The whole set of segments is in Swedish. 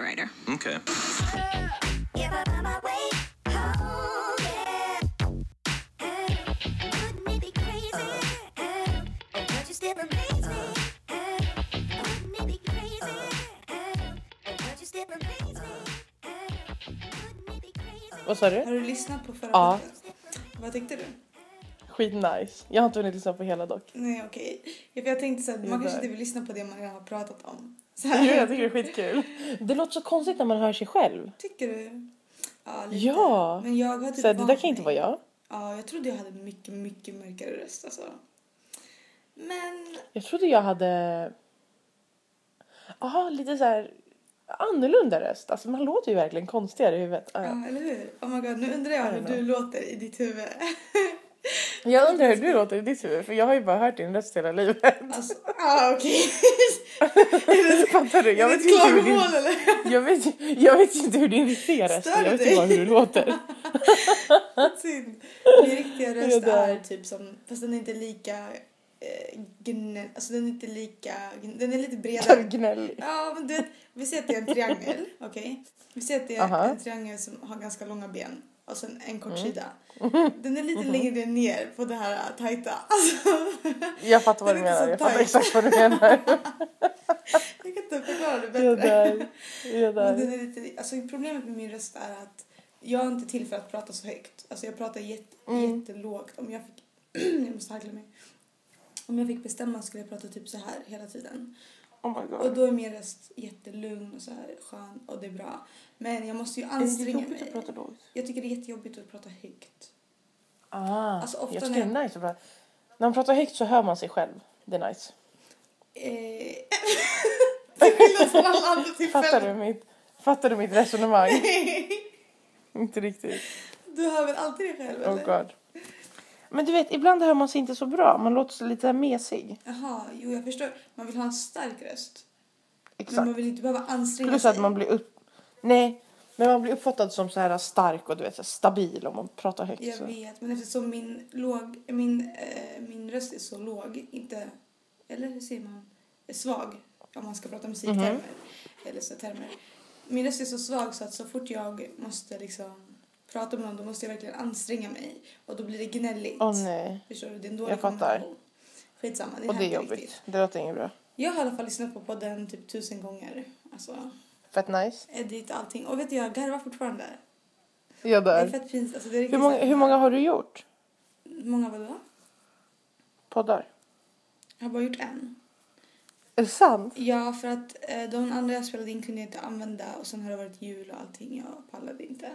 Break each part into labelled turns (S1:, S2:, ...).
S1: later.
S2: Okay.
S3: Vad sa
S4: Har
S3: du?
S4: du lyssnat på förra
S3: Ja.
S4: veckan? Vad tänkte du?
S3: Skitnice. Jag har inte hunnit lyssna på hela dock.
S4: Nej okej. Ja, för Jag tänkte såhär,
S3: Det är
S4: man kanske
S3: där.
S4: inte vill lyssna på det man redan har pratat om. Så
S3: Jo,
S4: här.
S3: jag tycker det är skitkul. Det låter så konstigt när man hör sig själv.
S4: Tycker du? Ja, lite.
S3: Ja.
S4: Men jag har typ
S3: Så här, det där
S4: vant
S3: kan inte
S4: mig.
S3: vara jag.
S4: Ja, jag trodde jag hade mycket, mycket mörkare röst alltså. Men
S3: Jag trodde jag hade... Jaha, lite så här annorlunda röst. Alltså man låter ju verkligen konstigare i huvudet. Ja, ja.
S4: Ja, eller hur? Oh my god, nu undrar jag
S3: I
S4: hur
S3: don't know.
S4: du låter i ditt huvud.
S3: Jag undrar hur du låter i ditt huvud för jag har ju bara hört din röst hela livet.
S4: Alltså, ah, okej.
S3: Fattar du? Jag
S4: Är det
S3: vet,
S4: ett
S3: ju inte hur din,
S4: klagomål eller?
S3: jag, vet, ju- jag vet ju inte hur din riktiga röst
S4: Stör
S3: är.
S4: det
S3: Jag vet ju bara hur
S4: dig?
S3: du låter.
S4: Synd. Min riktiga röst
S3: Jag dör.
S4: är typ som, fast den är inte lika eh, gnä, alltså den är inte lika, den är lite bredare.
S3: Gnällig.
S4: Ja, men du vet, vi ser att det är en triangel, okej? Vi ser att det är
S3: Aha.
S4: en triangel som har ganska långa ben och sen en kort sida. Den är lite längre ner på det här eh, tajta. Alltså,
S3: Jag fattar vad du
S4: Den är inte
S3: menar.
S4: så
S3: Jag fattar
S4: tight.
S3: exakt vad du menar.
S4: jag kan inte förklara det
S3: Jag
S4: bättre.
S3: dör. Jag
S4: Men
S3: dör.
S4: den är lite, alltså problemet med min röst är att jag är inte till för att prata så högt. Alltså jag pratar jätte,
S3: Mm.
S4: jättelågt. Om jag fick, jag måste harkla mig. Om jag fick bestämma skulle jag prata typ så här hela tiden.
S3: Oh my
S4: Och
S3: god.
S4: då är min röst jättelugn och så här skön och det är bra. Men jag måste ju anstränga mig.
S3: lågt?
S4: Jag tycker det är jättejobbigt att prata högt.
S3: Ah,
S4: Alltså, ofta
S3: jag tycker
S4: när-
S3: det är nice att prata. När man pratar högt så hör man sig själv. Det är nice.
S4: Eh, till skillnad från alla andra tillfällen.
S3: Fattar du mitt, fattar du mitt resonemang? inte riktigt.
S4: Du hör väl alltid dig själv
S3: Oh
S4: eller?
S3: god. Men du vet, ibland hör man sig inte så bra. Man låter så lite mesig.
S4: Jaha, jo jag förstår. Man vill ha en stark röst. Men
S3: Exakt.
S4: man vill inte behöva anstränga
S3: Plus
S4: sig.
S3: att man blir upp... Nej, men man blir uppfattad som så här stark och du vet, så här stabil om man pratar högt.
S4: Jag
S3: Så.
S4: vet, men eftersom min, låg, min, eh, min röst är så låg, inte, eller hur säger man, är svag om man ska prata
S3: Mhm.
S4: musiktermer eller så termer. Min röst är så svag så att så fort jag måste liksom prata med någon då måste jag verkligen anstränga mig och då blir det gnälligt.
S3: Åh nej.
S4: Förstår du? Det är en dålig
S3: Jag fattar.
S4: kombination. Skitsamma, det
S3: Och det är
S4: händer riktigt.
S3: jobbigt. Det låter inget bra.
S4: Jag har i alla fall lyssnat på podden typ tusen gånger. Alltså,
S3: Fett nice.
S4: edit och allting. Och vet du, jag garvar fortfarande.
S3: Jag
S4: Det är
S3: dör.
S4: fett pinsamt. Alltså, det är
S3: Hur
S4: riktigt
S3: många,
S4: så här-
S3: hur många har du gjort?
S4: många vadå?
S3: Poddar?
S4: Jag har bara gjort en.
S3: Är det sant?
S4: Ja, för att eh, de andra jag spelade in kunde jag inte använda och sen har det varit jul och allting. Jag pallade inte.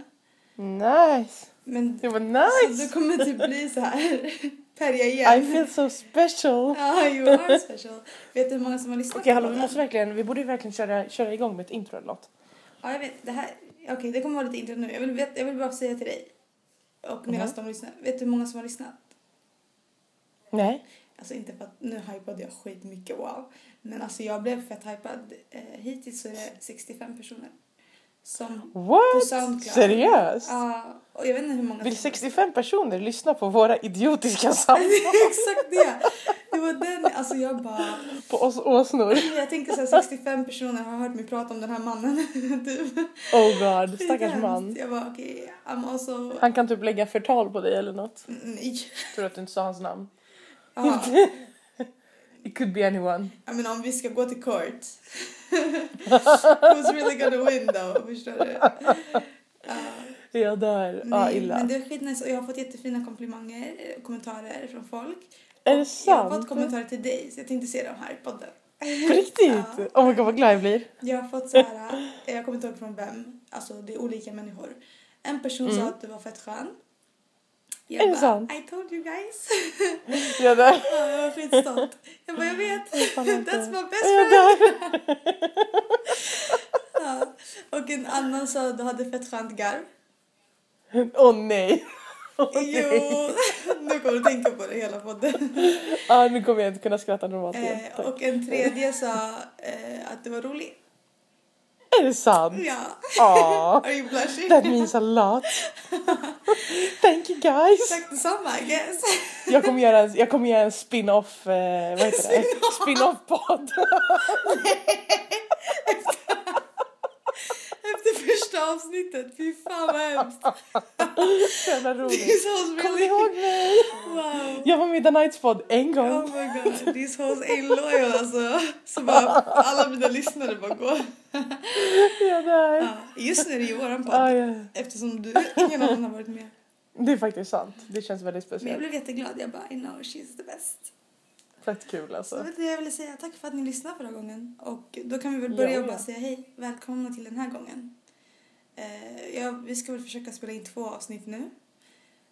S3: Nice.
S4: Men
S3: Det var
S4: så
S3: nice.
S4: du kommer typ bli så här Perja
S3: I
S4: igen.
S3: feel so special.
S4: Ja, you are special. Vet du hur många som har lyssnat
S3: Okej,
S4: på
S3: hallå, vi
S4: den?
S3: måste verkligen, vi borde ju verkligen köra, köra igång med ett intro eller något.
S4: Ja, jag vet. Det här... Okej, det kommer vara lite intro nu. Jag vill, vet, jag vill bara säga till dig och medan
S3: Mhm.
S4: de lyssnar. Vet du hur många som har lyssnat?
S3: Nej.
S4: Alltså inte för att nu hypade jag skitmycket, wow. Men alltså jag blev fett hypad. Eh, hittills så är det 65 personer. Som... På
S3: What?
S4: Soundcloud.
S3: Seriöst?
S4: Ja, och jag vet inte hur många...
S3: Vill
S4: som-
S3: 65 personer lyssna på våra idiotiska samtal
S4: Det är Exakt det. Det var den, alltså jag bara,
S3: på oss åsnor?
S4: jag tänker så här 65 personer har hört mig prata om den här mannen. Typ.
S3: Oh god, stackars
S4: Skithemskt.
S3: man.
S4: Jag bara okej, I'm also,
S3: Han kan typ lägga förtal på dig eller något.
S4: nej.
S3: Tror att du inte sa hans namn.
S4: Ja,
S3: It could be anyone.
S4: jag menar om vi ska gå till court. Who's really gonna win though, förstår du? Ja.
S3: Jag dör. Ja, ah,
S4: Nej, Men
S3: illa.
S4: det är skitnice och jag har fått jättefina komplimanger, eh, kommentarer från folk.
S3: Är det
S4: Och Jag har fått
S3: sant?
S4: kommentarer till dig så jag tänkte se dem här i podden.
S3: På riktigt? Oh my god vad glad jag blir.
S4: Jag har fått så här, eh, jag kommer inte ihåg från vem, alltså det är olika människor. En person sa att du var fett skön. Jag
S3: Mm. Är det
S4: bara,
S3: sant?
S4: I told you guys.
S3: Jag dör.
S4: Ja, jag var skitstolt. Jag bara, jag vet.
S3: fan inte.
S4: That's my best
S3: Jag
S4: friend.
S3: dör.
S4: Ja. Och en annan sa att du hade fett skönt garv.
S3: Åh nej.
S4: Jo, nu kommer du tänka på det hela podden.
S3: Ah, nu kommer jag inte kunna skratta normalt igen.
S4: Eh,
S3: Tack.
S4: och en tredje sa eh, att du var rolig.
S3: Är det sant?
S4: Ja.
S3: Aww.
S4: Are you blushing?
S3: Ah. That means a lot. Thank you guys.
S4: Tack detsamma, I guess.
S3: Jag kommer göra en, jag kommer göra en spin-off, eh, vad heter det? Spin-off podd.
S4: här avsnittet. Fy fan vad hemskt.
S3: Så jävla roligt.
S4: This was
S3: Kommer
S4: really...
S3: ni ihåg mig?
S4: Wow.
S3: Jag var med i The Nights Pod en
S4: Oh
S3: gång.
S4: my god, this hoes ain't loyal alltså. Så bara alla mina lyssnare bara går.
S3: Ja, där.
S4: Ja, just nu är det ju våran
S3: Ah,
S4: podd.
S3: ja.
S4: Eftersom du, ingen annan har varit med.
S3: Det är faktiskt sant. Det känns väldigt
S4: Men jag
S3: speciellt.
S4: blev jätteglad. Jag bara, I know she's the best.
S3: Fett kul
S4: Så det
S3: alltså.
S4: var det jag ville säga. Tack för att ni lyssnade förra gången. Och då kan vi väl
S3: Ja,
S4: börja
S3: ja.
S4: och bara säga hej. Välkomna till den här gången. Eh, ja, vi ska väl försöka spela in två avsnitt nu.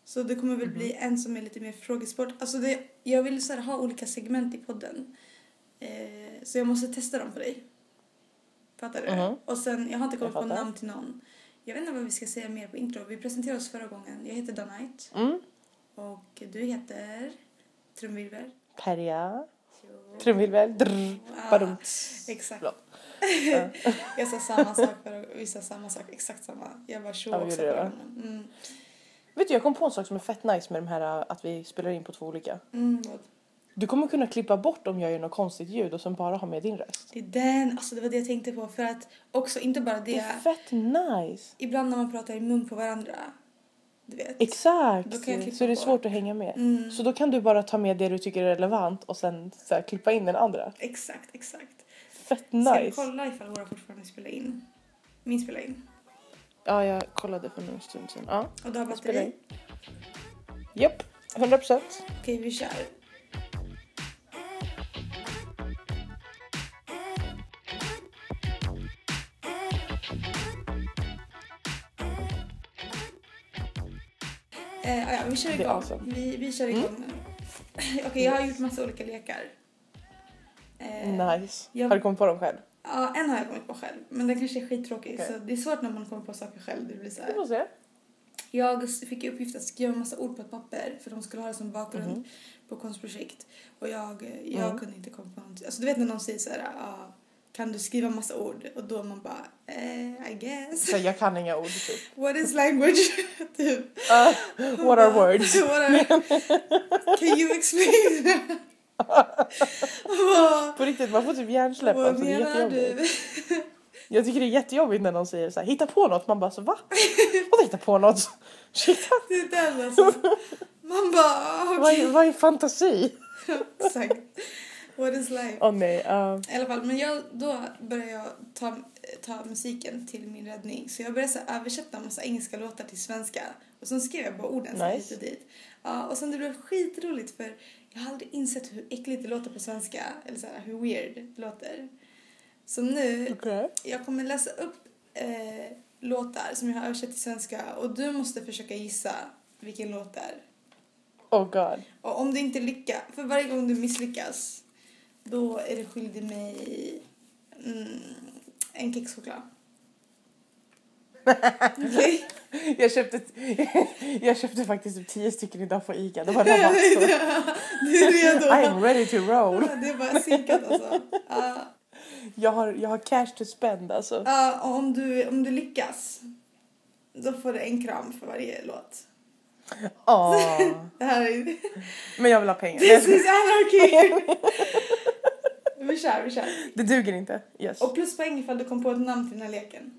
S4: Så det kommer
S3: Mhm.
S4: väl bli en som är lite mer frågesport. Alltså det, jag vill så här, ha olika segment i podden. Eh, så jag måste testa dem för dig. Fattar du?
S3: Mhm.
S4: Och sen, jag har inte kommit
S3: Jag
S4: på
S3: fattar.
S4: namn till någon. Jag vet inte vad vi ska säga mer på intro. Vi presenterade oss förra gången. Jag heter Danite.
S3: Mm.
S4: Och du heter... Trumvirvel.
S3: Perja.
S4: Jo.
S3: Trumvirvel. Drr.
S4: Ah,
S3: Badum.
S4: Exakt.
S3: Förlåt.
S4: jag sa samma sak för vi sa samma sak, exakt samma. Jag bara tjo
S3: Ja, vi
S4: också
S3: gjorde
S4: förra
S3: det,
S4: gången. Mm.
S3: Vet du, jag kom på en sak som är fett nice med de här äh, att vi spelar in på två olika.
S4: Mm, vad?
S3: Du kommer kunna klippa bort om jag gör något konstigt ljud och sen bara ha med din röst.
S4: Det är den, alltså det var det jag tänkte på för att också inte bara
S3: Det
S4: det.
S3: är fett nice.
S4: Ibland när man pratar i mun på varandra, du vet.
S3: Exakt.
S4: Då kan jag klippa
S3: Så det är
S4: bort.
S3: svårt att hänga med.
S4: Mm.
S3: Så då kan du bara ta med det du tycker är relevant och sen så här, klippa in den andra.
S4: Exakt, exakt.
S3: Fett
S4: Ska vi
S3: nice.
S4: kolla ifall våra fortfarande spelar in? Min spelar in.
S3: Ja, jag kollade för en stund sedan. Ja,
S4: Och du har
S3: jag spelar
S4: batteri?
S3: in. Japp, 100 procent.
S4: Okej, vi kör. Eh, Eh, ah ja, vi kör
S3: Det är
S4: igång.
S3: awesome. Mm.
S4: vi, vi kör igång nu. Okej, jag har gjort massa olika lekar. Eh,
S3: Nice.
S4: jag-
S3: Har du kommit på dem själv?
S4: Ja, en har jag kommit på själv, men den kanske är skittråkig.
S3: Okej.
S4: Så det är svårt när man kommer på saker själv. Det blir så här.
S3: Vi får se.
S4: Jag fick i uppgift att skriva en massa ord på ett papper för de skulle ha det som bakgrund
S3: Mhm.
S4: på konstprojekt. Och jag, eh, jag
S3: Mm.
S4: kunde inte komma på någonting. Alltså du vet när någon säger så här, ah, kan du skriva massa ord? Och då man bara, eh, I guess.
S3: Så jag kan inga ord typ.
S4: What is language? typ.
S3: Ah, what are
S4: Och bara,
S3: words?
S4: What are... Can you explain? Vad-
S3: På riktigt, man får typ hjärnsläpp.
S4: Vad
S3: Alltså, det är
S4: menar
S3: jättejobbigt.
S4: du?
S3: Jag tycker det är jättejobbigt när någon säger så här, hitta på något. Man bara så va? Vadå hitta på något? Shit,
S4: Det är den alltså. Man bara, "Ah,
S3: vad, är,
S4: okej.
S3: vad är fantasi?
S4: Exakt. What is life?
S3: Åh nej. ah.
S4: I alla fall, men jag, då började jag ta, ta musiken till min räddning. Så jag började så här översätta en massa engelska låtar till svenska. Och sen skrev jag bara orden så här
S3: Nice.
S4: hit och dit. Ja, och sen det blev skitroligt för jag har aldrig insett hur äckligt det låter på svenska. Eller så här, hur weird det låter. Så nu,
S3: Okej.
S4: jag kommer läsa upp eh, låtar som jag har översatt till svenska. Och du måste försöka gissa vilken låt det är.
S3: Oh god.
S4: Och om du inte lyckas, för varje gång du misslyckas, då är du skyldig mig mm, en kexchoklad. Okej?
S3: Jag köpte, jag köpte faktiskt typ tio stycken idag på Ica. Det var rabatt.
S4: du är
S3: så I am
S4: redo.
S3: ready to roll.
S4: Det är bara sinkat alltså. Ja,
S3: Jag har, jag har cash to spend alltså.
S4: ja, och om, du, om du lyckas, då får du en kram för varje låt.
S3: Ah.
S4: Det här är...
S3: Men jag vill ha pengar.
S4: This is anarchy! vi kör, vi kör.
S3: Det duger inte. Yes.
S4: Och pluspoäng ifall du kom på ett namn till den här leken.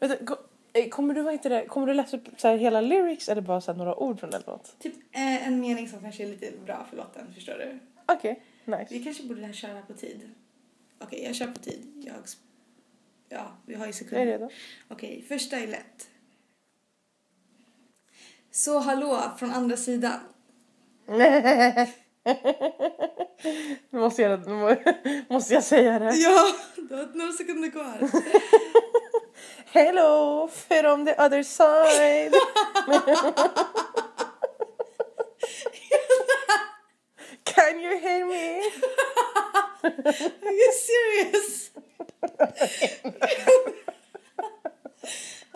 S3: Vänta, ko- eh, kommer, du, vad heter det, kommer du läsa upp så här hela lyrics eller bara så här några ord från en låt?
S4: Typ eh, en mening som kanske är lite bra för låten, förstår du?
S3: Okej, nice.
S4: Vi kanske borde här köra på tid. Okej, jag kör på tid. Jag... sp- Ja, vi har ju
S3: Jag är
S4: sekunder.
S3: redo.
S4: Okej, första är lätt. Så hallå från andra sidan.
S3: Nu måste jag, nu må- måste jag säga det.
S4: Ja, du har några sekunder kvar.
S3: Hello from the other side. Can you hear me?
S4: Are you serious?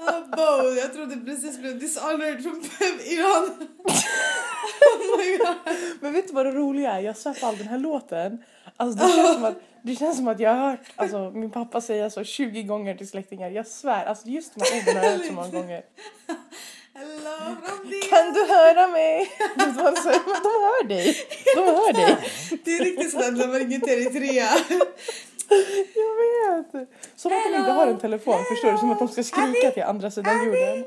S4: Ah, Bo, jag trodde precis blev dishonored från Iran. oh my god.
S3: Men vet du vad det roliga är? Jag söp all den här låten. Alltså det känns som att, det känns som att jag har hört alltså, min pappa säga så 20 gånger till släktingar. Jag svär, alltså just de här orden har jag hört så många gånger.
S4: Hello from the
S3: Kan du höra mig? Det var så, men de hör dig. De hör dig.
S4: Det är riktigt sådär när man ringer till Eritrea.
S3: Jag vet. Så de kan inte har en telefon förstår du som att de ska skrika till andra sidan jorden.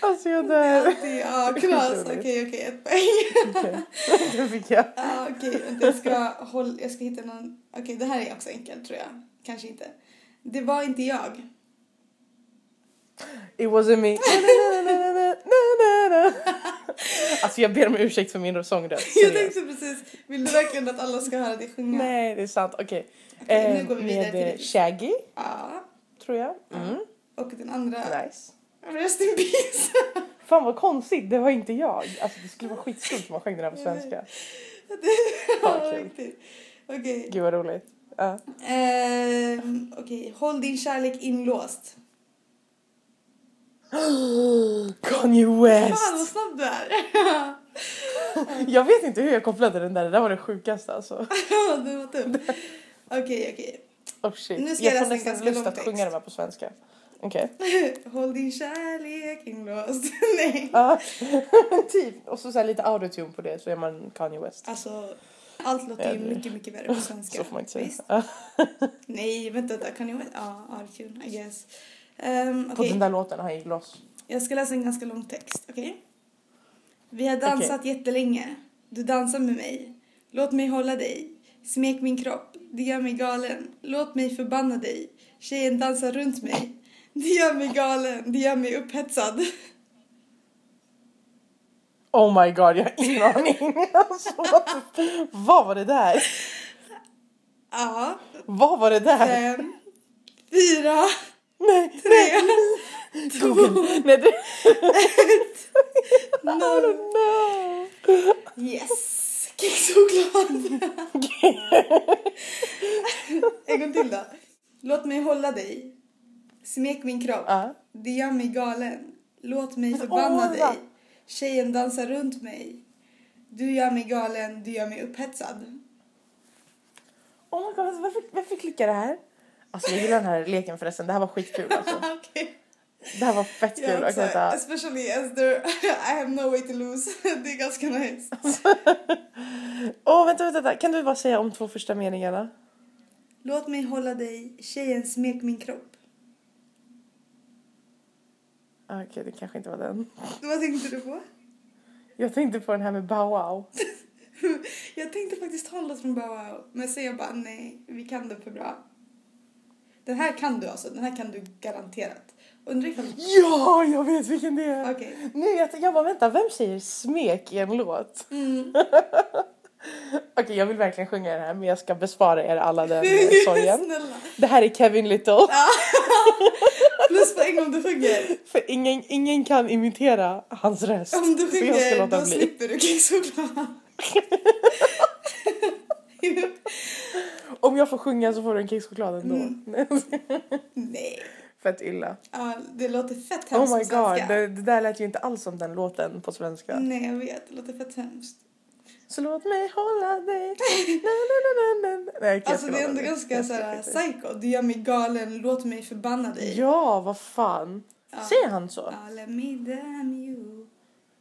S3: Alltså jag dör.
S4: Ah! Ja, knas. Okej, okej, ett poäng.
S3: Okej, det fick jag.
S4: Ja, Okej, vänta, jag ska, håll, jag ska hitta någon... Okej, det här är också enkelt tror jag. Kanske inte. Det var inte jag.
S3: It wasn't me. Na, na, na, na, na, na, na, na. Alltså jag ber om ursäkt för min sångröst.
S4: Jag
S3: seriöst.
S4: tänkte precis, vill du verkligen att alla ska höra dig sjunga?
S3: Nej, det är sant. Okej.
S4: Okej,
S3: Eh,
S4: nu går vi vidare
S3: med
S4: till
S3: eh,
S4: dig.
S3: Shaggy,
S4: Ja.
S3: tror jag. Mm.
S4: Och den andra,
S3: Nice.
S4: Rest in Peace.
S3: Fan vad konstigt, det var inte jag. Alltså det skulle vara skitskumt om man sjöng den här på
S4: Jag vet.
S3: svenska.
S4: Ja,
S3: kul.
S4: riktigt. Okej.
S3: Gud vad roligt. Ja.
S4: Ehm, Okej, håll din kärlek inlåst.
S3: Kanye
S4: Fan
S3: West!
S4: vad snabb du är.
S3: Jag vet inte hur jag kopplade den där, det där var det sjukaste alltså.
S4: du var tuff. Okej, okej.
S3: Oh shit.
S4: Nu ska
S3: jag
S4: jag
S3: får
S4: läsa en
S3: nästan
S4: ganska
S3: lust
S4: lång
S3: att
S4: text.
S3: sjunga de här på svenska. Okej.
S4: Håll din kärlek inlåst. Nej.
S3: Ja, typ. Och så, så här lite autotune på det så är man Kanye West.
S4: Alltså, allt låter ju mycket, mycket värre på svenska.
S3: Så får man inte säga.
S4: Visst?
S3: Ja.
S4: Nej, vänta, vänta. Kan jag... Ja, Artune, I guess. Um,
S3: På den där låten han gick loss.
S4: Jag ska läsa en ganska lång text, okej? Vi har dansat jättelänge. Du dansar med mig. Låt mig hålla dig. Smek min kropp. Det gör mig galen. Låt mig förbanna dig. Tjejen dansar runt mig. Det gör mig galen. Det gör mig upphetsad.
S3: Oh my god, jag har ingen aning. Alltså, what the- vad var det där?
S4: Ja.
S3: Vad var det där?
S4: Fem. Ehm, Fyra.
S3: Nej,
S4: Tre.
S3: Google. Nej, det...
S4: Noll.
S3: No.
S4: Yes! Kexchoklad! en gång till då. Låt mig hålla dig. Smek min kropp.
S3: Ja.
S4: Det gör mig galen. Låt mig
S3: Men
S4: förbanna
S3: åh,
S4: dig.
S3: va?
S4: Tjejen dansar runt mig. Du gör mig galen, du gör mig upphetsad.
S3: Oh my god, alltså, varför, varför klickar det här? Alltså jag gillar den här leken förresten, det här var skitkul alltså.
S4: Okej.
S3: Det här var fett kul. alltså, Jag
S4: Jag också,
S3: kan inte...
S4: especially as there, I have no way to lose. det är ganska nice.
S3: Åh, vänta, vänta, vänta, kan du bara säga om två första meningarna?
S4: Låt mig hålla dig, tjejen smek min kropp.
S3: Ah, Okej, det kanske inte var den.
S4: Vad tänkte du på?
S3: Jag tänkte på den här med Bow Wow.
S4: Jag tänkte faktiskt ta en låt från Bow Wow, men sen jag bara nej, vi kan den för bra. Den här kan du alltså, den här kan du garanterat. Undrar ifall...
S3: Ja, jag vet vilken det är!
S4: Okej.
S3: Nej, jag, jag bara vänta, vem säger smek i en låt?
S4: Mm.
S3: Okej, jag vill verkligen sjunga den här men jag ska bespara er alla den eh, sorgen.
S4: Snälla.
S3: Det här är Kevin Little.
S4: Plus poäng om du sjunger.
S3: För ingen, ingen kan imitera hans röst.
S4: Om du
S3: så jag ska
S4: sjunger,
S3: låta
S4: då
S3: bli.
S4: slipper du kexchoklad.
S3: Om jag får sjunga så får du en kexchoklad ändå.
S4: Mm. nej.
S3: Fett illa.
S4: Ja, det låter fett hemskt
S3: Oh my
S4: på
S3: god,
S4: svenska. Mm.
S3: det, det där lät ju inte alls som den låten på svenska.
S4: Nej, jag vet. Det låter fett hemskt.
S3: Så låt mig hålla dig. Na, na, na, na, na. Nej, okej, jag
S4: Alltså
S3: ska
S4: det är
S3: låta
S4: ändå
S3: bli.
S4: ganska
S3: Jag ska
S4: såhär
S3: skita i.
S4: psycho. Du gör mig galen, låt mig förbanna dig.
S3: Ja, vad fan.
S4: Ja.
S3: Säger han så?
S4: Ja, let me damn you.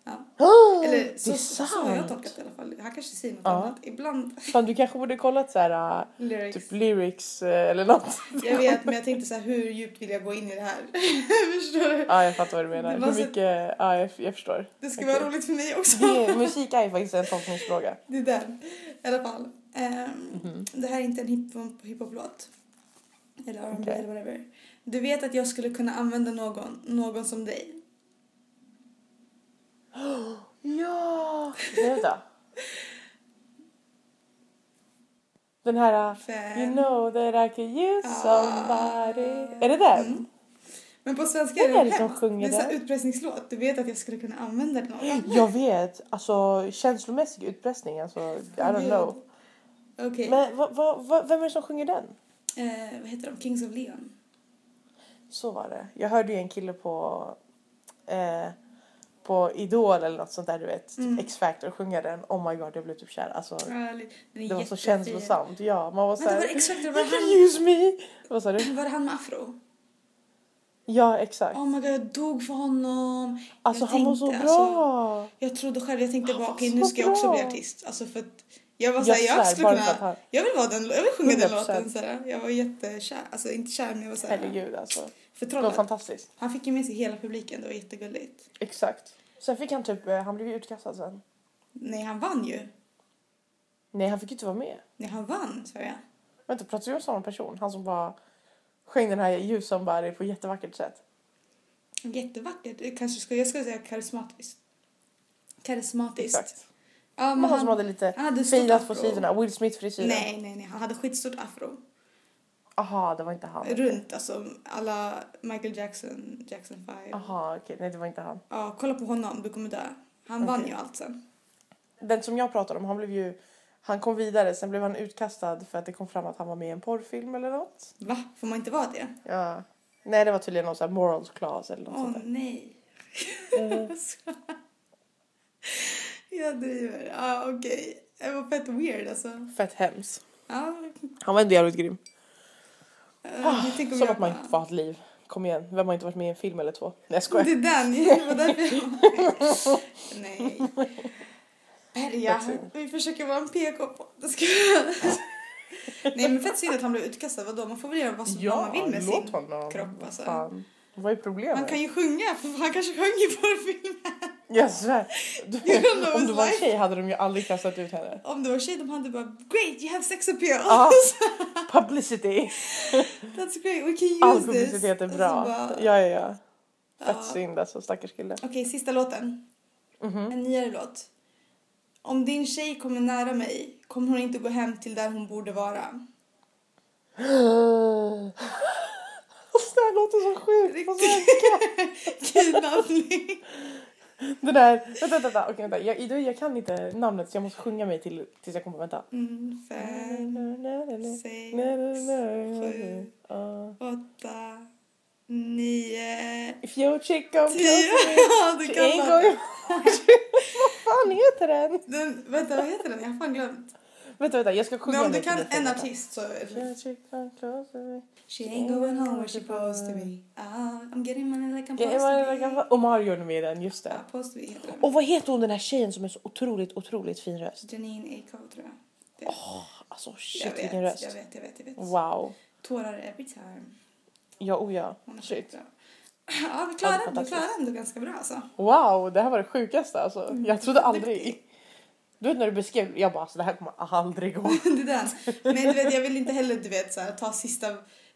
S4: Ja.
S3: Ah,
S4: Eller
S3: det
S4: så,
S3: är
S4: så har jag
S3: sant.
S4: tolkat det i alla fall. Han kanske säger något
S3: Ja.
S4: annat. Ibland
S3: Fan, du kanske borde kollat så här, äh,
S4: lyrics.
S3: typ lyrics eh, eller något.
S4: Jag vet, men jag tänkte så här, hur djupt vill jag gå in i det här? Förstår du?
S3: Ja, jag fattar vad du menar.
S4: Det var
S3: Hur
S4: så-
S3: mycket... äh, Ja, jag, jag förstår.
S4: Det ska
S3: Okej.
S4: vara roligt för mig också.
S3: Det är, musik är ju faktiskt en tolkningsfråga.
S4: Det är den. I alla fall. Ehm,
S3: Mhm.
S4: Det här är inte en hip- hiphop-låt. Eller R&B
S3: Okej.
S4: eller whatever. Du vet att jag skulle kunna använda någon, någon som dig.
S3: Ja! Nej, vänta. Den här... äh,
S4: Fem.
S3: You know that I could use
S4: Ah.
S3: somebody. Är det den?
S4: Mm. Men på svenska
S3: Vem är det
S4: hemskt.
S3: som sjunger
S4: Det är så här
S3: den?
S4: utpressningslåt. Du vet att jag skulle kunna använda någon.
S3: Jag vet. Alltså känslomässig utpressning. Alltså, I don't know.
S4: Okej.
S3: Men vad- vad- vad- vem är det som sjunger den?
S4: Eh, vad heter de? Kings of Leon.
S3: Så var det. Jag hörde ju en kille på, eh, på Idol eller något sånt där, du vet. Typ
S4: Mm.
S3: X-Factor sjunga den. Oh my god, jag blev typ kär. Alltså,
S4: Ärligt, den är
S3: det var så Alltså,
S4: jättefin.
S3: känslosamt. Ja, man var
S4: Vänta, var det
S3: såhär...
S4: exakt det var
S3: You
S4: han,
S3: can use me! Vad sa du?
S4: var det han med afro?
S3: Ja, exakt.
S4: Oh my god, jag dog för honom.
S3: Alltså
S4: jag
S3: han var så
S4: tänkte,
S3: bra!
S4: alltså, Jag trodde själv, jag tänkte
S3: Han
S4: bara
S3: var
S4: okej
S3: så
S4: nu ska jag också bli
S3: bra.
S4: artist. Alltså för att Jag var såhär, jag, skulle kunna, jag vill vara den, jag vill sjunga den
S3: 100%.
S4: låten såhär. Jag var jättekär, alltså inte kär men jag var såhär
S3: Herregud alltså. Det var
S4: förtrollad.
S3: fantastiskt.
S4: Han fick ju med sig hela publiken, det var jättegulligt.
S3: Exakt. Sen fick han typ, eh, han blev ju utkastad sen.
S4: Nej, han vann ju.
S3: Nej han fick ju inte vara med.
S4: Nej, han vann sa jag.
S3: Vänta pratar vi om samma person? Han som bara sjöng den här You somebody på jättevackert sätt.
S4: Jättevackert. Jag Kanske skulle, jag skulle säga karismatiskt. Karismatiskt.
S3: Exakt.
S4: Ja, men
S3: Men han som
S4: han,
S3: hade lite
S4: han hade stort
S3: fejdat
S4: afro.
S3: på sidorna. Will Smith frisyren.
S4: Nej, nej, nej. Han hade skitstort afro.
S3: Aha det var inte han.
S4: Runt, alltså alla Michael Jackson, Jackson 5.
S3: Aha okej nej det var inte han.
S4: Ja, kolla på honom, du kommer dö. Han vann
S3: Okej.
S4: ju allt sen.
S3: Den som jag pratade om han blev ju, han kom vidare sen blev han utkastad för att det kom fram att han var med i en porrfilm eller något.
S4: Va? Får man inte vara det?
S3: Ja. Nej det var tydligen någon sån här morals class eller något
S4: Åh
S3: sånt där.
S4: nej.
S3: Mm.
S4: Jag driver. Ja, okej. Det var fett weird alltså.
S3: Fett hemskt.
S4: Ja,
S3: Han var ändå jävligt grym.
S4: eh, ni tänker om
S3: Ah, Som
S4: jag
S3: att man
S4: bara-
S3: inte får ha ett liv. Kom igen, vem har inte varit med i en film eller två? Nej jag skojar.
S4: Det är den, det var därför jag... Nej. Berga,
S3: synd.
S4: vi försöker vara en PK-podd. Jag skojar. Nej men fett synd att han blev utkastad, vadå? Man får väl göra vad som vad man vill med
S3: låt
S4: sin...
S3: honom.
S4: kropp, alltså.
S3: Fan. Vad är problemet?
S4: Han kan ju sjunga, för han kanske sjöng i porrfilmen.
S3: Jag svär. Du,
S4: You don't know
S3: om du
S4: his
S3: var en
S4: life.
S3: tjej hade de ju aldrig kastat ut henne.
S4: Om det var tjej, de hade bara “Great, you have sex appeal!”
S3: Ja. Publicity.
S4: “That's great, we can use
S3: All
S4: this!”
S3: publicitet är
S4: Och så
S3: bra.
S4: Alltså bara-
S3: Ja, ja, ja. Fett
S4: Ja.
S3: synd alltså, stackars kille.
S4: Okej, sista låten.
S3: Mhm.
S4: En nyare låt. Om din tjej kommer nära mig kommer hon inte gå hem till där hon borde vara.
S3: Alltså, det här låter så sjukt. Vad säkert.
S4: Kidnappning.
S3: Den Alltså, där, vänta, vänta, vänta. Okej, vänta. Jag, du, jag kan inte namnet så jag måste sjunga mig till, tills jag kommer. Vänta.
S4: Mm, fem, sju,
S3: Uh,
S4: åtta, nio,
S3: if your chick come
S4: tio.
S3: close
S4: Ja, du
S3: to
S4: kan
S3: me,
S4: den.
S3: Vad fan heter den?
S4: den. Vänta, vad heter den? Jag har fan glömt.
S3: Vänta, vänta, jag ska sjunga
S4: Men om
S3: mig
S4: du
S3: till
S4: kan
S3: nästa
S4: en
S3: vecka.
S4: artist så...
S3: If your chick come close to me.
S4: She ain't going home where she supposed to be. Ah, I'm getting money like I'm
S3: Okej, jag var- jag
S4: supposed to be.
S3: var- Och Mario är med i den, just det.
S4: Ja, supposed to be heter den.
S3: Och vad heter hon den här tjejen som är så otroligt, otroligt fin röst?
S4: Janine Aikow tror jag. Det-
S3: Alltså
S4: jag,
S3: shit
S4: vet,
S3: vilken
S4: jag vet,
S3: röst.
S4: jag vet, jag vet.
S3: Wow.
S4: Tårar every time.
S3: Ja, oh ja.
S4: Hon är
S3: Shit.
S4: skitbra. Ja, vi
S3: Ja, det är
S4: klarar ändå,
S3: fantastiskt.
S4: klarar ändå ganska bra alltså.
S3: Wow, det här var det sjukaste alltså.
S4: Mm,
S3: Jag trodde
S4: duktig.
S3: aldrig... Du vet när du beskrev, jag bara alltså det här kommer aldrig gå.
S4: det är den. Men du vet, jag vill inte heller du vet, så här, ta sista,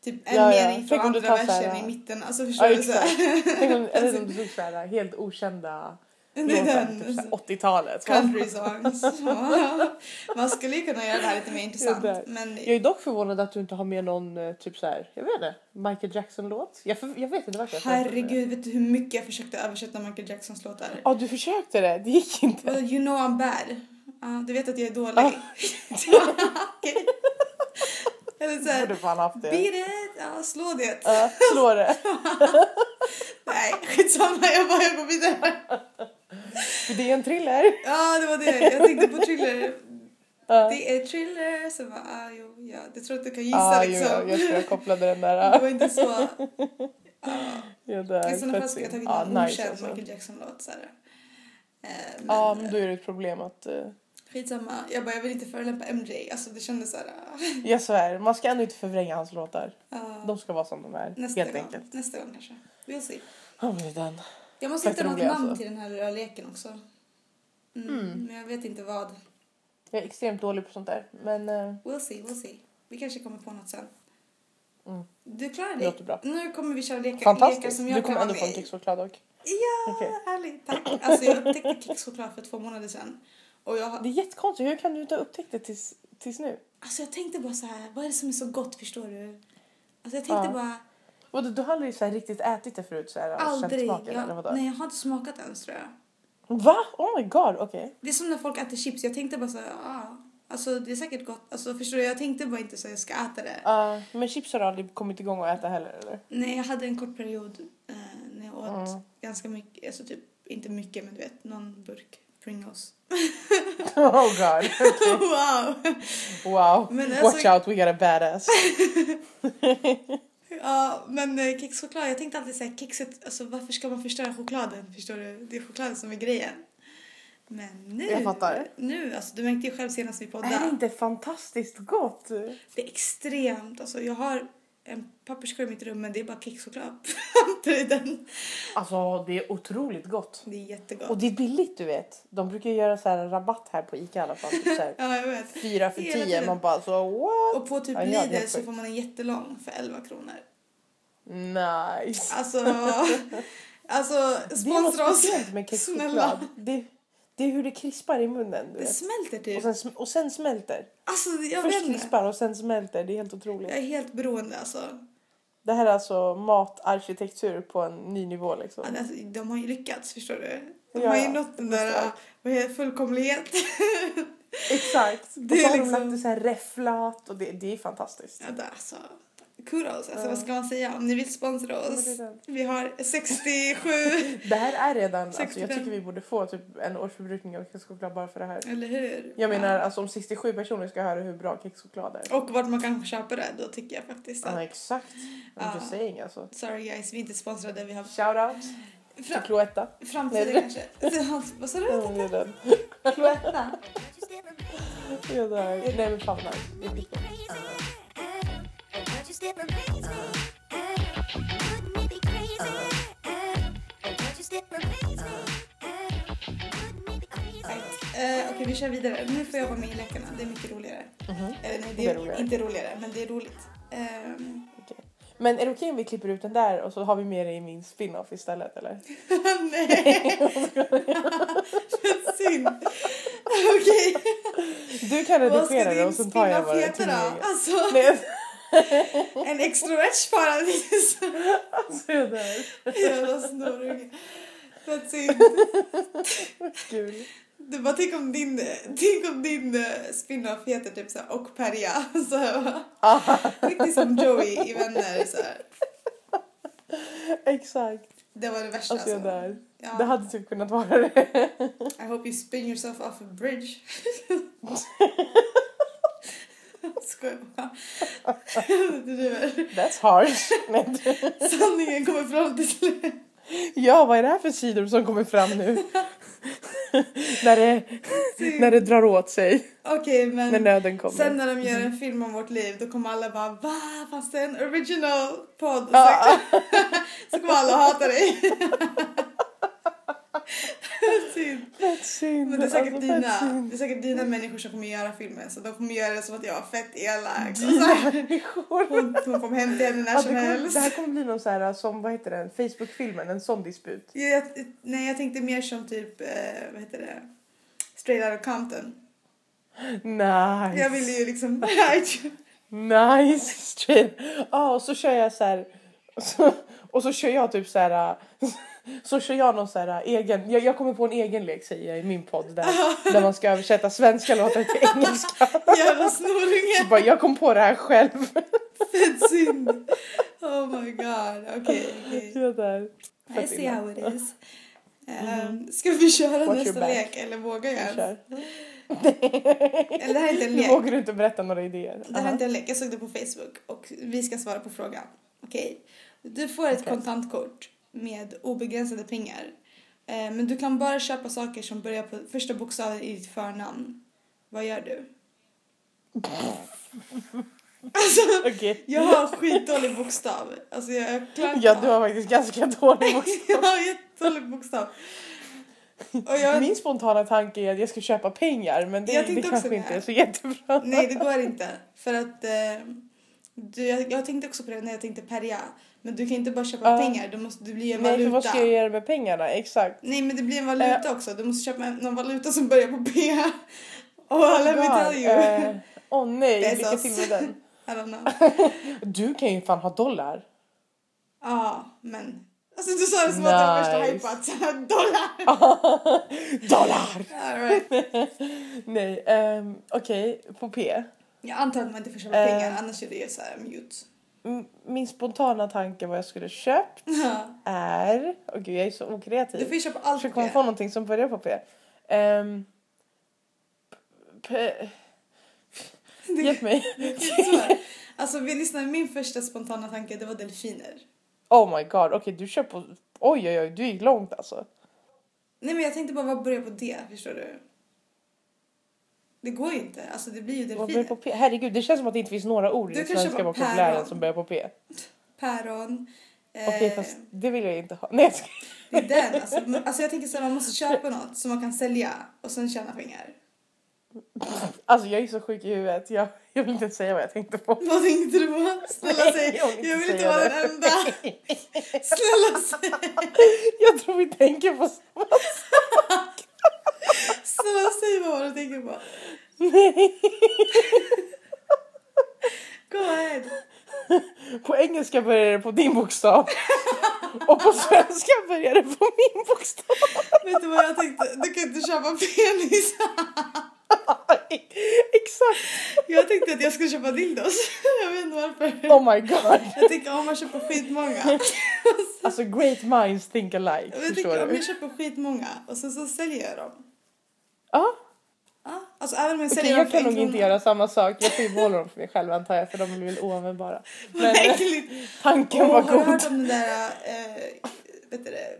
S4: typ en
S3: Ja, ja.
S4: mening från
S3: Tänk om du
S4: andra
S3: tar så här,
S4: versen
S3: ja.
S4: i mitten. Alltså förstår
S3: Ja,
S4: du? Så här.
S3: exakt. Tänk om, eller som du tog såhär helt okända
S4: Det är
S3: låtar, typ
S4: den.
S3: såhär 80-talet.
S4: Country songs. Ja. Man skulle ju kunna göra det här lite mer intressant.
S3: Ja, där.
S4: Men
S3: Jag är dock förvånad att du inte har med någon eh, typ så här, jag vet inte, Michael Jackson-låt. Jag, för, jag vet inte varför jag tänkte på det.
S4: herregud, vet du hur mycket jag försökte översätta Michael Jacksons låtar?
S3: Ja, du försökte det. Det gick inte.
S4: Well, you know I'm bad. Ja, du vet att jag är dålig. Okej. Eller
S3: Du
S4: såhär,
S3: borde fan haft det.
S4: beat it, ja, slå det.
S3: Ja, slå det.
S4: Nej, skitsamma, jag bara jag går vidare.
S3: För det är en thriller.
S4: Ja, det var det. Jag tänkte på thriller.
S3: Ja.
S4: Det är thriller, så bara, ah, jo, ja. Jag tror att du kan gissa
S3: Ja, Ah, jo,
S4: liksom.
S3: jag, jag tror jag kopplade den
S4: Det
S3: där.
S4: var inte så... Ah. Ja.
S3: Ja, där,
S4: I sådana fall skulle jag
S3: plötsligt.
S4: tagit
S3: Ja,
S4: någon
S3: nice
S4: okänd
S3: alltså.
S4: Michael Jackson-låt. Så här. Eh, men
S3: Ja, men då är det ett problem att... eh,
S4: skitsamma. Jag bara, jag vill inte förolämpa MJ. Alltså det kändes så här... ah,
S3: jag svär, man ska ändå inte förvränga hans låtar.
S4: ja.
S3: De ska vara som de är,
S4: nästa
S3: helt
S4: gång.
S3: enkelt.
S4: Nästa gång kanske. We'll see.
S3: Ja, men den.
S4: Jag måste
S3: Fett
S4: hitta något
S3: rolig,
S4: namn
S3: alltså.
S4: till den här lilla leken också. Mm,
S3: Mm.
S4: Men jag vet inte vad.
S3: Jag är extremt dålig på sånt där, men eh,
S4: We'll see, we'll see. Vi kanske kommer på något sen.
S3: Mm.
S4: Du klarar
S3: det
S4: dig.
S3: låter bra.
S4: Nu kommer vi köra lekar, lekar
S3: Fantastiskt!
S4: som
S3: Du
S4: jag kan
S3: kommer
S4: vara
S3: ändå
S4: med
S3: få en
S4: i.
S3: kexchoklad dock.
S4: Ja,
S3: Okej.
S4: härligt. Tack. Alltså jag upptäckte kexchoklad för två månader sedan. Och jag,
S3: Det är jättekonstigt, hur kan du inte ha upptäckt det tills, tills nu?
S4: Alltså jag tänkte bara så här, vad är det som är så gott förstår du? Alltså jag tänkte
S3: Ja.
S4: bara,
S3: Och du, du har aldrig så här riktigt ätit det förut så här, och känt
S4: aldrig.
S3: smaken? eller
S4: Jag,
S3: vadå?
S4: nej jag har inte smakat ens tror jag.
S3: Va? Oh my god, okej.
S4: Det är som när folk äter chips, jag tänkte bara så här, ah, alltså det är säkert gott. Alltså förstår du, jag tänkte bara inte så här, jag ska äta det.
S3: Ja, men chips har du aldrig kommit igång och äta heller eller?
S4: Nej jag hade en kort period eh, när jag åt
S3: Mm.
S4: ganska mycket, alltså typ inte mycket men du vet någon burk Pringles. Typ.
S3: Oh god,
S4: wow!
S3: wow.
S4: Men
S3: Watch
S4: alltså,
S3: out we got a badass.
S4: ja men eh, kexchoklad, jag tänkte alltid så här, kexet, alltså varför ska man förstöra chokladen förstår du? Det är chokladen som är grejen. Men nu,
S3: Jag fattar.
S4: nu alltså du märkte ju själv senast vi poddade.
S3: Är det inte fantastiskt gott?
S4: Det är extremt. Alltså, jag har en papperskorg i mitt rum men det är bara kexchoklad i den.
S3: Alltså det är otroligt gott.
S4: Det är jättegott.
S3: Och det är billigt du vet. De brukar ju göra så här rabatt här på Ica i alla fall. Typ så här,
S4: Ja, jag vet.
S3: fyra för
S4: Hela
S3: tio.
S4: tiden.
S3: Man bara så what?
S4: Och på typ
S3: Ja, jag är
S4: Lidl
S3: helt
S4: så
S3: sjuk.
S4: får man en jättelång för 11 kronor.
S3: Nice.
S4: Alltså, alltså
S3: Det är något
S4: sponsra oss.
S3: speciellt med
S4: Snälla.
S3: kexchoklad. Det, det är hur det krispar i munnen. Du
S4: Det
S3: vet.
S4: smälter
S3: Och,
S4: typ.
S3: sen, sm- och sen smälter.
S4: Alltså jag
S3: Först
S4: vet inte.
S3: krispar och sen smälter. Det är helt otroligt.
S4: Jag är helt beroende alltså.
S3: Det här är alltså matarkitektur på en ny nivå liksom.
S4: Ja, alltså de har ju lyckats förstår du. De
S3: Ja,
S4: har ju
S3: ja.
S4: nått den där vad heter, det, fullkomlighet.
S3: Exakt.
S4: Det
S3: och så
S4: är
S3: har de
S4: liksom-
S3: lagt det så här räfflat och det, det är fantastiskt.
S4: Ja, det, alltså, kudos, alltså,
S3: Ja.
S4: vad ska man säga? Om ni vill sponsra
S3: Ja,
S4: oss.
S3: men
S4: Vi har 67,
S3: Det här är redan, alltså, jag
S4: 65.
S3: tycker vi borde få typ en årsförbrukning av kexchoklad bara för det här.
S4: eller hur?
S3: Jag menar alltså om 67 personer ska höra hur bra kexchoklad är.
S4: Ja. Och vart man kan köpa det, då tycker jag faktiskt att...
S3: Ja exakt. I'm just
S4: Ja.
S3: saying alltså.
S4: Sorry guys, vi är inte sponsrade. Vi har
S3: Shoutout till
S4: fram,
S3: Cloetta.
S4: framtiden
S3: Nej.
S4: kanske. Så han- Vad sa du?
S3: Ja, det är den.
S4: Cloetta?
S3: Ja, det är- Nej men fan nice. Det är skitbra.
S4: Eh, Okej, vi kör vidare. Nu får jag vara med i Läckarna. Det är mycket roligare.
S3: Mhm.
S4: Eller nej, det
S3: Det
S4: är,
S3: är roligare.
S4: inte roligare, men det är roligt. Ehm,
S3: Men är det okej om vi klipper ut den där och så har vi med det i min spin-off istället eller?
S4: nej! Synd. Okej.
S3: Du kan
S4: Vad ska
S3: redigera det och
S4: din
S3: sen tar jag
S4: spin-off
S3: bara
S4: heta då?
S3: tillägget.
S4: Alltså,
S3: Nej,
S4: en extroverts paradis.
S3: alltså det där.
S4: Jävla snorunge. Vad synd.
S3: Kul.
S4: Du bara, tänk om din, tänk om din eh, spin-off heter typ såhär och Perja. Så här, va? Riktigt som Joey i Vänner. Så här.
S3: Exakt.
S4: Det var det värsta.
S3: Alltså jag dör.
S4: Ja.
S3: Det hade typ kunnat vara det.
S4: I hope you spin yourself off a bridge. Skojar bara. Du driver.
S3: That's harsh. Men,
S4: Sanningen kommer fram till slut.
S3: ja, vad är det här för sidor som kommer fram nu? när, det, när det drar åt sig.
S4: Okej,
S3: När
S4: men
S3: nöden kommer.
S4: Typ. Mm. sen när de gör en film om vårt liv då kommer alla bara va? Fanns det en original podd? Och
S3: Ja.
S4: Så, så kommer alla hata dig. Synd.
S3: Fett synd.
S4: Typ. Men det är säkert
S3: Alltså, fett
S4: dina,
S3: synd.
S4: det är säkert dina människor som kommer göra filmen så de kommer göra det som att jag är fett elak. Och så
S3: Dina
S4: här,
S3: människor.
S4: hon, hon kommer hem till henne när
S3: Alltså,
S4: som
S3: det, kommer,
S4: helst.
S3: det här kommer bli någon så här som, vad heter den, Facebook-filmen, en sån disput.
S4: Ja, Jag, nej, jag tänkte mer som typ, eh, vad heter det, straight out of Compton.
S3: Nice.
S4: Jag ville ju liksom,
S3: Nice! Straight. Ja, och så kör jag så här... Och så, och så kör jag typ så här... äh, Så kör jag någon så här äh, egen... Jag, jag kommer på en egen lek säger jag i min podd där, där man ska översätta svenska låtar till engelska.
S4: jävla snorunge.
S3: Så bara, jag kom på det här själv.
S4: Fett synd. Oh my god, okej. okej.
S3: Jag där.
S4: I
S3: Fett
S4: see
S3: illa. Mm.
S4: how it is. Ehm, ska vi köra
S3: Watch your
S4: nästa
S3: back.
S4: lek eller vågar jag
S3: Vi
S4: ens?
S3: kör.
S4: Eller det här är inte en
S3: Nu
S4: lek.
S3: vågar du inte berätta några idéer.
S4: Det här är inte en lek, jag såg det på Facebook och vi ska svara på frågan. Okej. Du får ett
S3: Okej.
S4: kontantkort med obegränsade pengar. Eh, men du kan bara köpa saker som börjar på första bokstaven i ditt förnamn. Vad gör du? alltså,
S3: Aha. Okej.
S4: jag har skitdålig bokstav. Alltså jag är klar.
S3: Ja, du har faktiskt ganska dålig bok.
S4: jag har jättedålig bokstav. Och jag...
S3: Min spontana tanke är att jag ska köpa pengar men det,
S4: Jag
S3: det
S4: tänkte också
S3: kanske
S4: det
S3: inte
S4: här.
S3: är så jättebra.
S4: Nej, det går inte. För att... Eh, du, jag, jag tänkte också på det när jag tänkte perja. Men du kan inte bara köpa
S3: Ja.
S4: pengar, du måste, det blir en
S3: Nej, för vad
S4: valuta.
S3: ska jag göra Eh. med pengarna? Exakt.
S4: Nej, men det blir en valuta också. Du måste köpa en- någon valuta som börjar på P. Oh, let me
S3: God,
S4: tell you.
S3: eh, Åh nej, lycka
S4: Bezos.
S3: till med den.
S4: I don't know.
S3: Du kan ju fan ha dollar.
S4: Ja, men... Alltså du sa det som att det var värsta
S3: Nice.
S4: hajpat. Så här, Dollar!
S3: dollar!
S4: All right.
S3: Nej, ehm, okej, på P.
S4: Jag antar att man inte får köpa
S3: Eh.
S4: pengar, annars är det ju så här mute.
S3: M- Min spontana tanke vad jag skulle köpt
S4: Ja.
S3: är... Åh gud, jag är så
S4: du får
S3: okreativ.
S4: ju köpa allt
S3: Jag
S4: på
S3: kommer
S4: P.
S3: Typ. på någonting som börjar på P. Ehm, p- p- Hjälp mig.
S4: Det är svårt. Alltså vi lyssnar, min första spontana tanke det var delfiner.
S3: Oh my god, okej du kör på... Oj, oj, oj, du gick långt alltså.
S4: Nej men jag tänkte bara vad börjar på D, förstår du? Det går ju inte. Alltså det blir ju
S3: Vad börjar
S4: delfiner.
S3: på P? Herregud, det känns som att det inte finns några ord i
S4: Du
S3: den
S4: kan
S3: svenska
S4: köpa
S3: vokabulären
S4: päron.
S3: som börjar på P.
S4: Päron. Eh,
S3: Okej, fast det vill jag inte ha. Nej, jag ska...
S4: Det är den. Alltså, man- alltså jag tänker så här, man måste köpa något som man kan sälja och sen tjäna pengar.
S3: Alltså jag är så sjuk i huvudet. Jag, jag vill inte ens säga vad jag tänkte på.
S4: Vad tänkte du på? Snälla
S3: Nej,
S4: säg.
S3: jag vill inte
S4: Jag vill inte
S3: säga
S4: vara
S3: det.
S4: den enda. Snälla säg.
S3: Jag tror vi tänker på samma.
S4: Snälla säg vad du tänker på.
S3: Nej.
S4: Go ahead.
S3: På engelska börjar det på din bokstav. Och på svenska börjar det på min bokstav.
S4: Vet du vad jag tänkte? Du kan inte köpa penis.
S3: Exakt.
S4: Jag tänkte att jag skulle köpa dildos. Jag vet inte varför.
S3: Oh my god.
S4: Jag tänker om man köper skitmånga.
S3: Alltså great minds think alike.
S4: Jag tänker
S3: förstår
S4: om
S3: du?
S4: jag köper skitmånga och sen så säljer jag dem.
S3: Ja.
S4: Ja, alltså även om jag
S3: Okej,
S4: säljer dem
S3: jag
S4: för
S3: kan
S4: en
S3: nog inte
S4: krona.
S3: göra samma sak. Jag får ju behålla dem för mig själv antar jag för de är väl oanvändbara. Men
S4: Vad äckligt.
S3: tanken
S4: Och
S3: var
S4: har du
S3: god.
S4: hört om den där, eh, vet du det,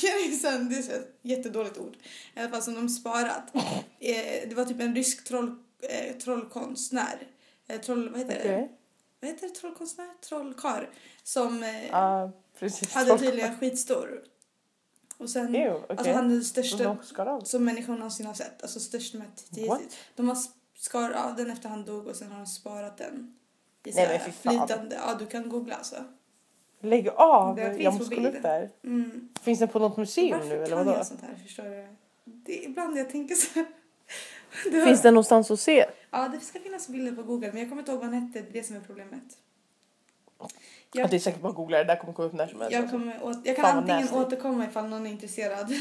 S4: penisen, det är ett jättedåligt ord. I alla fall som de sparat. Eh, det var typ en rysk troll, eh, trollkonstnär. Eh, troll, vad heter det?
S3: Okej.
S4: Vad heter det? Trollkonstnär? Trollkar. Som eh,
S3: Ja, precis.
S4: hade tydligen skitstor. Och sen,
S3: Ew, okej.
S4: alltså han är den största
S3: De skar av.
S4: som människan någonsin har sett. Alltså störst med
S3: What?
S4: 10 De har sp- skar av den efter han dog och sen har de sparat den. I så
S3: Nej,
S4: här
S3: men fy fan.
S4: flytande. Ja, du kan googla alltså.
S3: Lägg av!
S4: Den
S3: Jag
S4: finns
S3: måste
S4: på
S3: kolla upp
S4: bild.
S3: det här.
S4: Mm.
S3: Finns den på något museum nu
S4: Varför
S3: eller
S4: kan
S3: vadå?
S4: jag sånt här? Förstår du? Det är ibland jag tänker så här. Det
S3: Finns den någonstans att se?
S4: Ja, det ska finnas bilder på Google, men jag kommer inte ihåg vad den hette. Det är det som är problemet.
S3: Ja. Det är säkert bara att googla det där kommer komma upp när som helst.
S4: Jag, kommer åt, jag kan
S3: Fan, vad
S4: antingen
S3: nasty.
S4: återkomma ifall någon är intresserad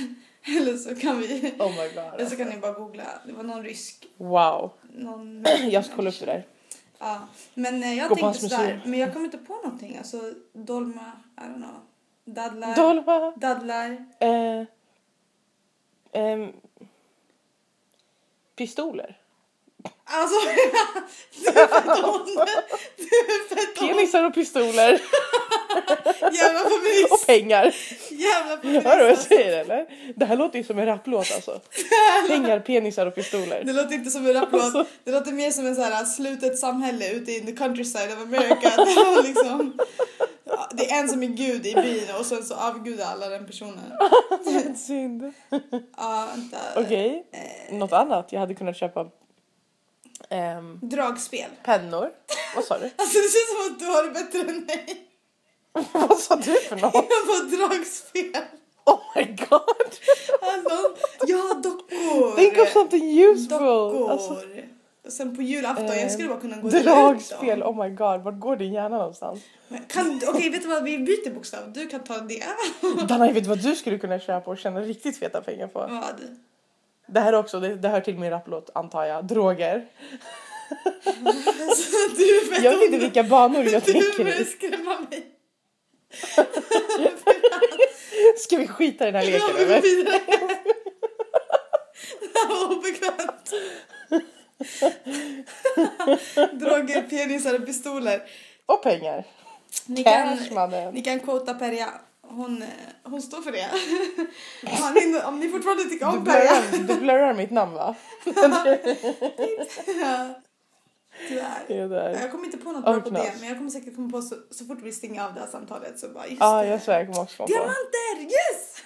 S4: eller så kan vi...
S3: Oh my god.
S4: Eller så
S3: alltså.
S4: kan ni bara googla. Det var någon rysk.
S3: Wow.
S4: Någon
S3: Jag ska kolla upp det där.
S4: Ja, men eh,
S3: Gå
S4: jag
S3: på
S4: tänkte
S3: hans
S4: så här,
S3: museum.
S4: men jag kom inte på någonting. Alltså dolma, I don't know. Dadlar.
S3: Dolva.
S4: dadlar.
S3: Eh, ehm, pistoler.
S4: Alltså, du är fett ond. Du är fett ond.
S3: Penisar och pistoler.
S4: Jävla feminist.
S3: Och pengar.
S4: Jävla feminist.
S3: Hör du vad jag
S4: alltså.
S3: säger eller? Det här låter ju som en rapplåt alltså. Pengar, penisar och pistoler.
S4: Det låter inte som en
S3: Alltså.
S4: rapplåt. Det låter mer som en så här slutet samhälle ute in the countryside of America. Där man liksom, Ja, det är en som är gud i byn och sen så avgudar alla den personen.
S3: Vad Synd.
S4: Ja, vänta.
S3: Okej.
S4: Eh,
S3: Något annat? Jag hade kunnat köpa ehm,
S4: dragspel.
S3: pennor. Vad sa du?
S4: Alltså det känns som att du har det bättre än mig.
S3: Vad sa du för något?
S4: Jag får dragspel.
S3: Oh my god!
S4: Alltså, jag har dockor.
S3: Think of something useful!
S4: Dockor.
S3: Alltså,
S4: Sen på julafton,
S3: Eh,
S4: jag skulle bara kunna gå och dela ut dem.
S3: dragspel, oh my god. Vart går din hjärna någonstans?
S4: Men Kan, okej, vet du vad? Vi byter bokstav. Du kan ta det. Äh,
S3: Danna, jag vet vad du skulle kunna köpa och tjäna riktigt feta pengar på?
S4: Vad?
S3: Det här också, det, det hör till min rapplåt antar jag. Droger.
S4: Alltså, du är fett
S3: Jag vet inte
S4: ond.
S3: vilka banor jag
S4: Du
S3: tänker
S4: börjar
S3: i.
S4: skrämma mig.
S3: Ska vi skita i den här
S4: Jag
S3: leken
S4: vill gå
S3: eller?
S4: vidare. Det här var obekvämt. Droger, penisar och pistoler.
S3: Och pengar.
S4: Ni kan,
S3: Cash mannen.
S4: ni kan quota Perja. Hon, eh, hon står för det. Har ni, om ni fortfarande tycker
S3: Du
S4: om Perja.
S3: blurrar, du blurrar mitt namn va? Det
S4: Tyvärr.
S3: är där.
S4: Jag kommer inte på något bra på
S3: Öppnas.
S4: det men jag kommer säkert komma på så, så fort vi stänger av det här samtalet så bara just
S3: Ja, ah,
S4: det.
S3: jag svär jag kommer också komma på.
S4: Diamanter! Yes!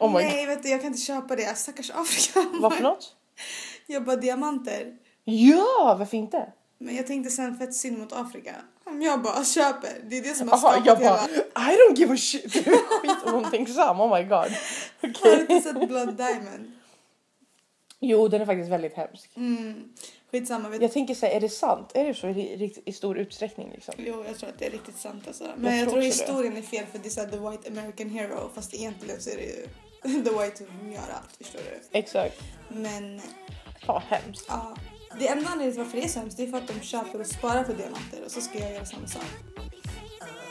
S3: Oh my
S4: Nej, vet du, jag kan inte köpa det. Stackars Afrika.
S3: god. Vad för något?
S4: Jag bara diamanter.
S3: Ja, varför inte?
S4: Men jag tänkte sen fett synd mot Afrika. Om jag bara köper. Det är det som har
S3: Jaha,
S4: skapat
S3: jag bara
S4: hela...
S3: I don't give a shit. Det är Skitomtänksam, oh my god.
S4: Har du
S3: Okej.
S4: inte sett Blood Diamond?
S3: Jo, den är faktiskt väldigt hemsk.
S4: Mm. Skitsamma. Vet
S3: Jag tänker säga, är det sant? Är det så i, rikt- i stor utsträckning liksom?
S4: Jo, jag tror att det är riktigt sant alltså. Men
S3: tror
S4: jag, tror
S3: också
S4: historien är fel för det är såhär the white American hero fast egentligen så är det ju the white som gör allt, förstår du?
S3: Exakt.
S4: Men
S3: Fan vad hemskt.
S4: ja, det enda anledningen till varför det är så hemskt det är för att de köper och sparar på diamanter och så ska jag göra samma sak.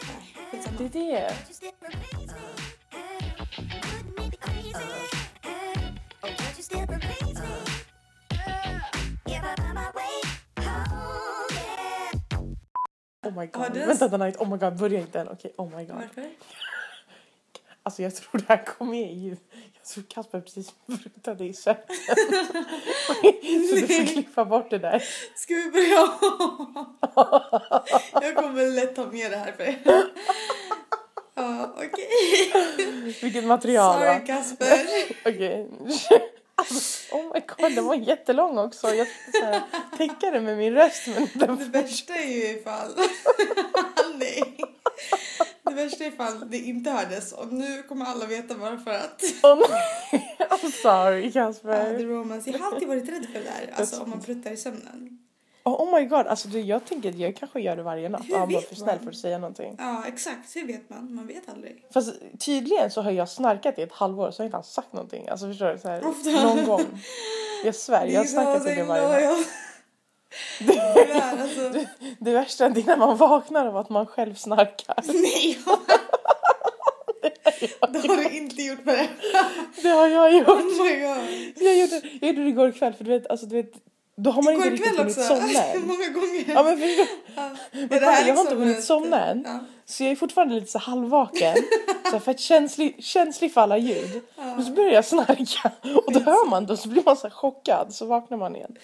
S4: Nej, skitsamma.
S3: Det är det.
S1: just it remains. Uh, could maybe crease. Uh, oh, but you still remain. Uh, if I find my way home, yeah.
S3: Oh my god.
S4: Har du-
S3: Vänta, The Night. Oh my god, börja inte än. Okej, oh my god.
S4: Varför?
S3: Alltså jag tror det här kom med i... Jag tror Kasper precis sprutade i sömnen. så du får klippa bort det där.
S4: Ska vi börja om? Jag kommer lätt ta med det här för er. Ja, okej.
S3: Vilket material
S4: Sorry
S3: va?
S4: Kasper.
S3: Okej. Alltså, oh my god, den var jättelång också. Jag försökte så här täcka det med min röst. Men den...
S4: Det värsta är ju ifall... Nej. Det värsta är ifall det inte hördes och nu kommer alla veta varför att...
S3: Oh, nej. I'm sorry
S4: Ja,
S3: Kasper.
S4: the romance. Jag har alltid varit rädd för det där, alltså om man pruttar i sömnen.
S3: Oh, oh my god, alltså du, jag tänker att jag kanske gör det varje natt.
S4: Hur
S3: Ja, bara
S4: vet
S3: för snäll
S4: man?
S3: för att säga någonting.
S4: Ja, exakt. Hur vet man? Man vet aldrig.
S3: Fast tydligen så har jag snarkat i ett halvår så har jag inte ens sagt någonting. Alltså förstår du? Så här,
S4: Ofta.
S3: någon gång. Jag svär, jag har snarkat i det varje natt.
S4: natt. Tyvärr, alltså.
S3: Det värsta är när man vaknar av att man själv snarkar.
S4: Nej, det har du inte gjort med det.
S3: Det har jag
S4: Oh
S3: gjort.
S4: my god.
S3: Jag gjorde, jag gjorde det igår kväll för du vet, alltså du vet, då har man inte
S4: Igår
S3: riktigt
S4: kväll
S3: hunnit
S4: också.
S3: somna än.
S4: Många gånger.
S3: Ja men förstår du?
S4: Ja.
S3: Men kolla, jag har inte hunnit somna än.
S4: liksom typ- Ja.
S3: Så jag är fortfarande lite så halvvaken. så här, för att känslig, känslig för alla ljud. Och så börjar jag snarka. Och då hör man det och så blir man så här chockad. Så vaknar man igen.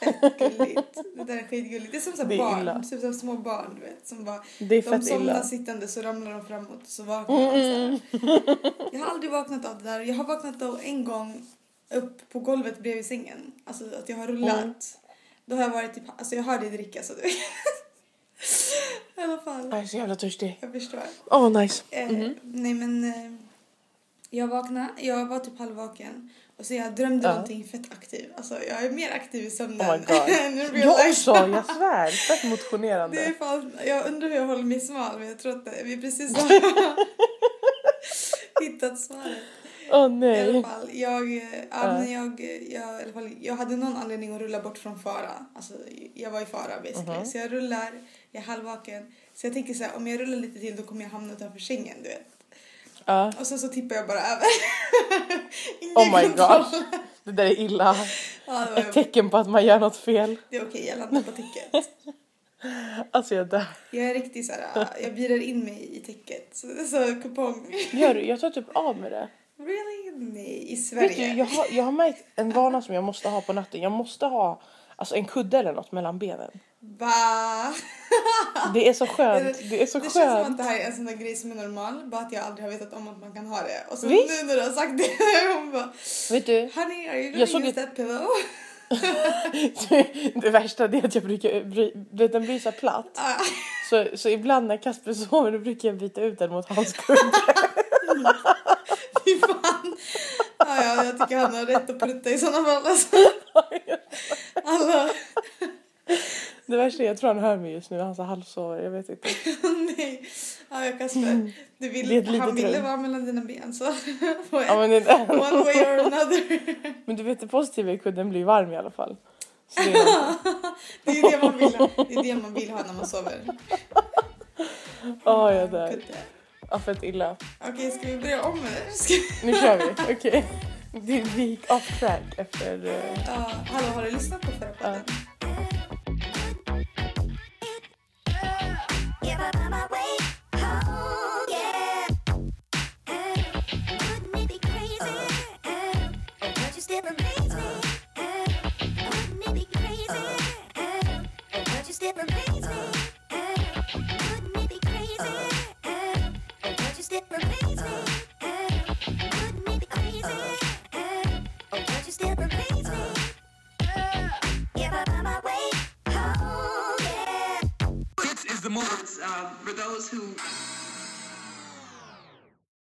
S4: Fett gulligt. Det där är skitgulligt. Det är som så här
S3: Det är
S4: barn,
S3: illa.
S4: typ som små barn du vet. Som bara,
S3: Det är
S4: de
S3: fett
S4: somnar
S3: illa. Mm.
S4: sittande så ramlar de framåt och så vaknar de så här. Jag har aldrig vaknat av det där. Jag har vaknat av en gång upp på golvet bredvid sängen. Alltså att jag har rullat. Då har jag varit typ, alltså jag hör dig dricka så du vet. I alla fall.
S3: Jag är så jävla törstig.
S4: Jag förstår.
S3: Åh oh, nice.
S4: Eh, Nej men eh, jag vaknade, jag var typ halvvaken och så jag drömde
S3: Ja.
S4: någonting fett aktiv. Alltså jag är mer aktiv i sömnen
S3: Oh my god.
S4: än i
S3: Jag
S4: real life.
S3: också, jag svär. Fett
S4: Det är
S3: motionerande.
S4: fan, jag undrar hur jag håller mig smal men jag tror att det- vi precis har hittat svaret.
S3: Åh oh,
S4: I alla
S3: nej.
S4: fall, jag, eh, ja,
S3: Ja.
S4: men jag, eh, jag, i alla fall, jag hade någon anledning att rulla bort från fara. Alltså, jag var i fara basically.
S3: Mhm.
S4: Så jag rullar, jag är halvvaken. Så jag tänker så här, om jag rullar lite till då kommer jag hamna utanför sängen du vet.
S3: Ja.
S4: Och sen så tippar jag bara över. Ingen
S3: Oh my
S4: kontroll.
S3: gosh. Det där är illa.
S4: Ja, det,
S3: Ett
S4: var jobbigt.
S3: tecken på att man gör något fel.
S4: det är okej, jag landar på täcket.
S3: Alltså jag dör.
S4: Jag är riktigt så här, jag virar in mig i täcket. Så, så kupong.
S3: Gör du? Jag tar typ av med det.
S4: Really? Nej, i
S3: Vet du,
S4: Sverige.
S3: jag har, jag har märkt en vana som jag måste ha på natten. Jag måste ha alltså, en kudde eller något mellan benen.
S4: Va?
S3: Det är så
S4: Det-
S3: skönt. Det är så
S4: Det känns som
S3: skönt.
S4: att det här är en sån där grej som är normal, bara att jag aldrig har vetat om att man kan ha det. Och så
S3: Visst.
S4: nu när du har sagt det, hon bara
S3: Vet du,
S4: Honey, are you
S3: Jag såg
S4: gonna use that pillow?
S3: det värsta det är att jag brukar... bry- du vet, Den blir så här platt.
S4: Ah,
S3: Så, så ibland när Kasper sover då brukar jag byta ut den mot hans kudde.
S4: Fy fan. Ah, ja, jag tycker han har rätt att prutta i såna fall. Alltså. Alla,
S3: Det värsta är jag tror han hör mig just nu. Han så halvsover. Jag vet inte.
S4: nej. Ja, jag Kasper, du
S3: Det är
S4: vill,
S3: ett litet
S4: han ville
S3: rum.
S4: vara mellan dina ben så
S3: Ja, men, det,
S4: one way or another.
S3: men du vet det positiva är att kudden blir varm i alla fall. Så det är något.
S4: Det är det man vill, det är det man vill ha när man sover.
S3: Åh, jag dör.
S4: Kutte.
S3: Ja, fett illa.
S4: Okej, ska vi börja om eller? Ska...
S3: Nu kör vi. Okej. Vi, vi gick off track efter... eh,
S4: Ja, hallå, har du lyssnat på förra podden?
S1: Yeah, but on my way home, yeah. Adam, wouldn't it be crazy? Adam, oh, don't you still amaze me? Adam, wouldn't it be crazy? Adam, oh, don't you still amaze me? Adam, wouldn't it be crazy? Adam, oh, don't you still amaze me? Adam, wouldn't it be crazy? Adam, oh, don't you still amaze me? Yeah, but on my way home, yeah.
S2: This is the moment uh, for those who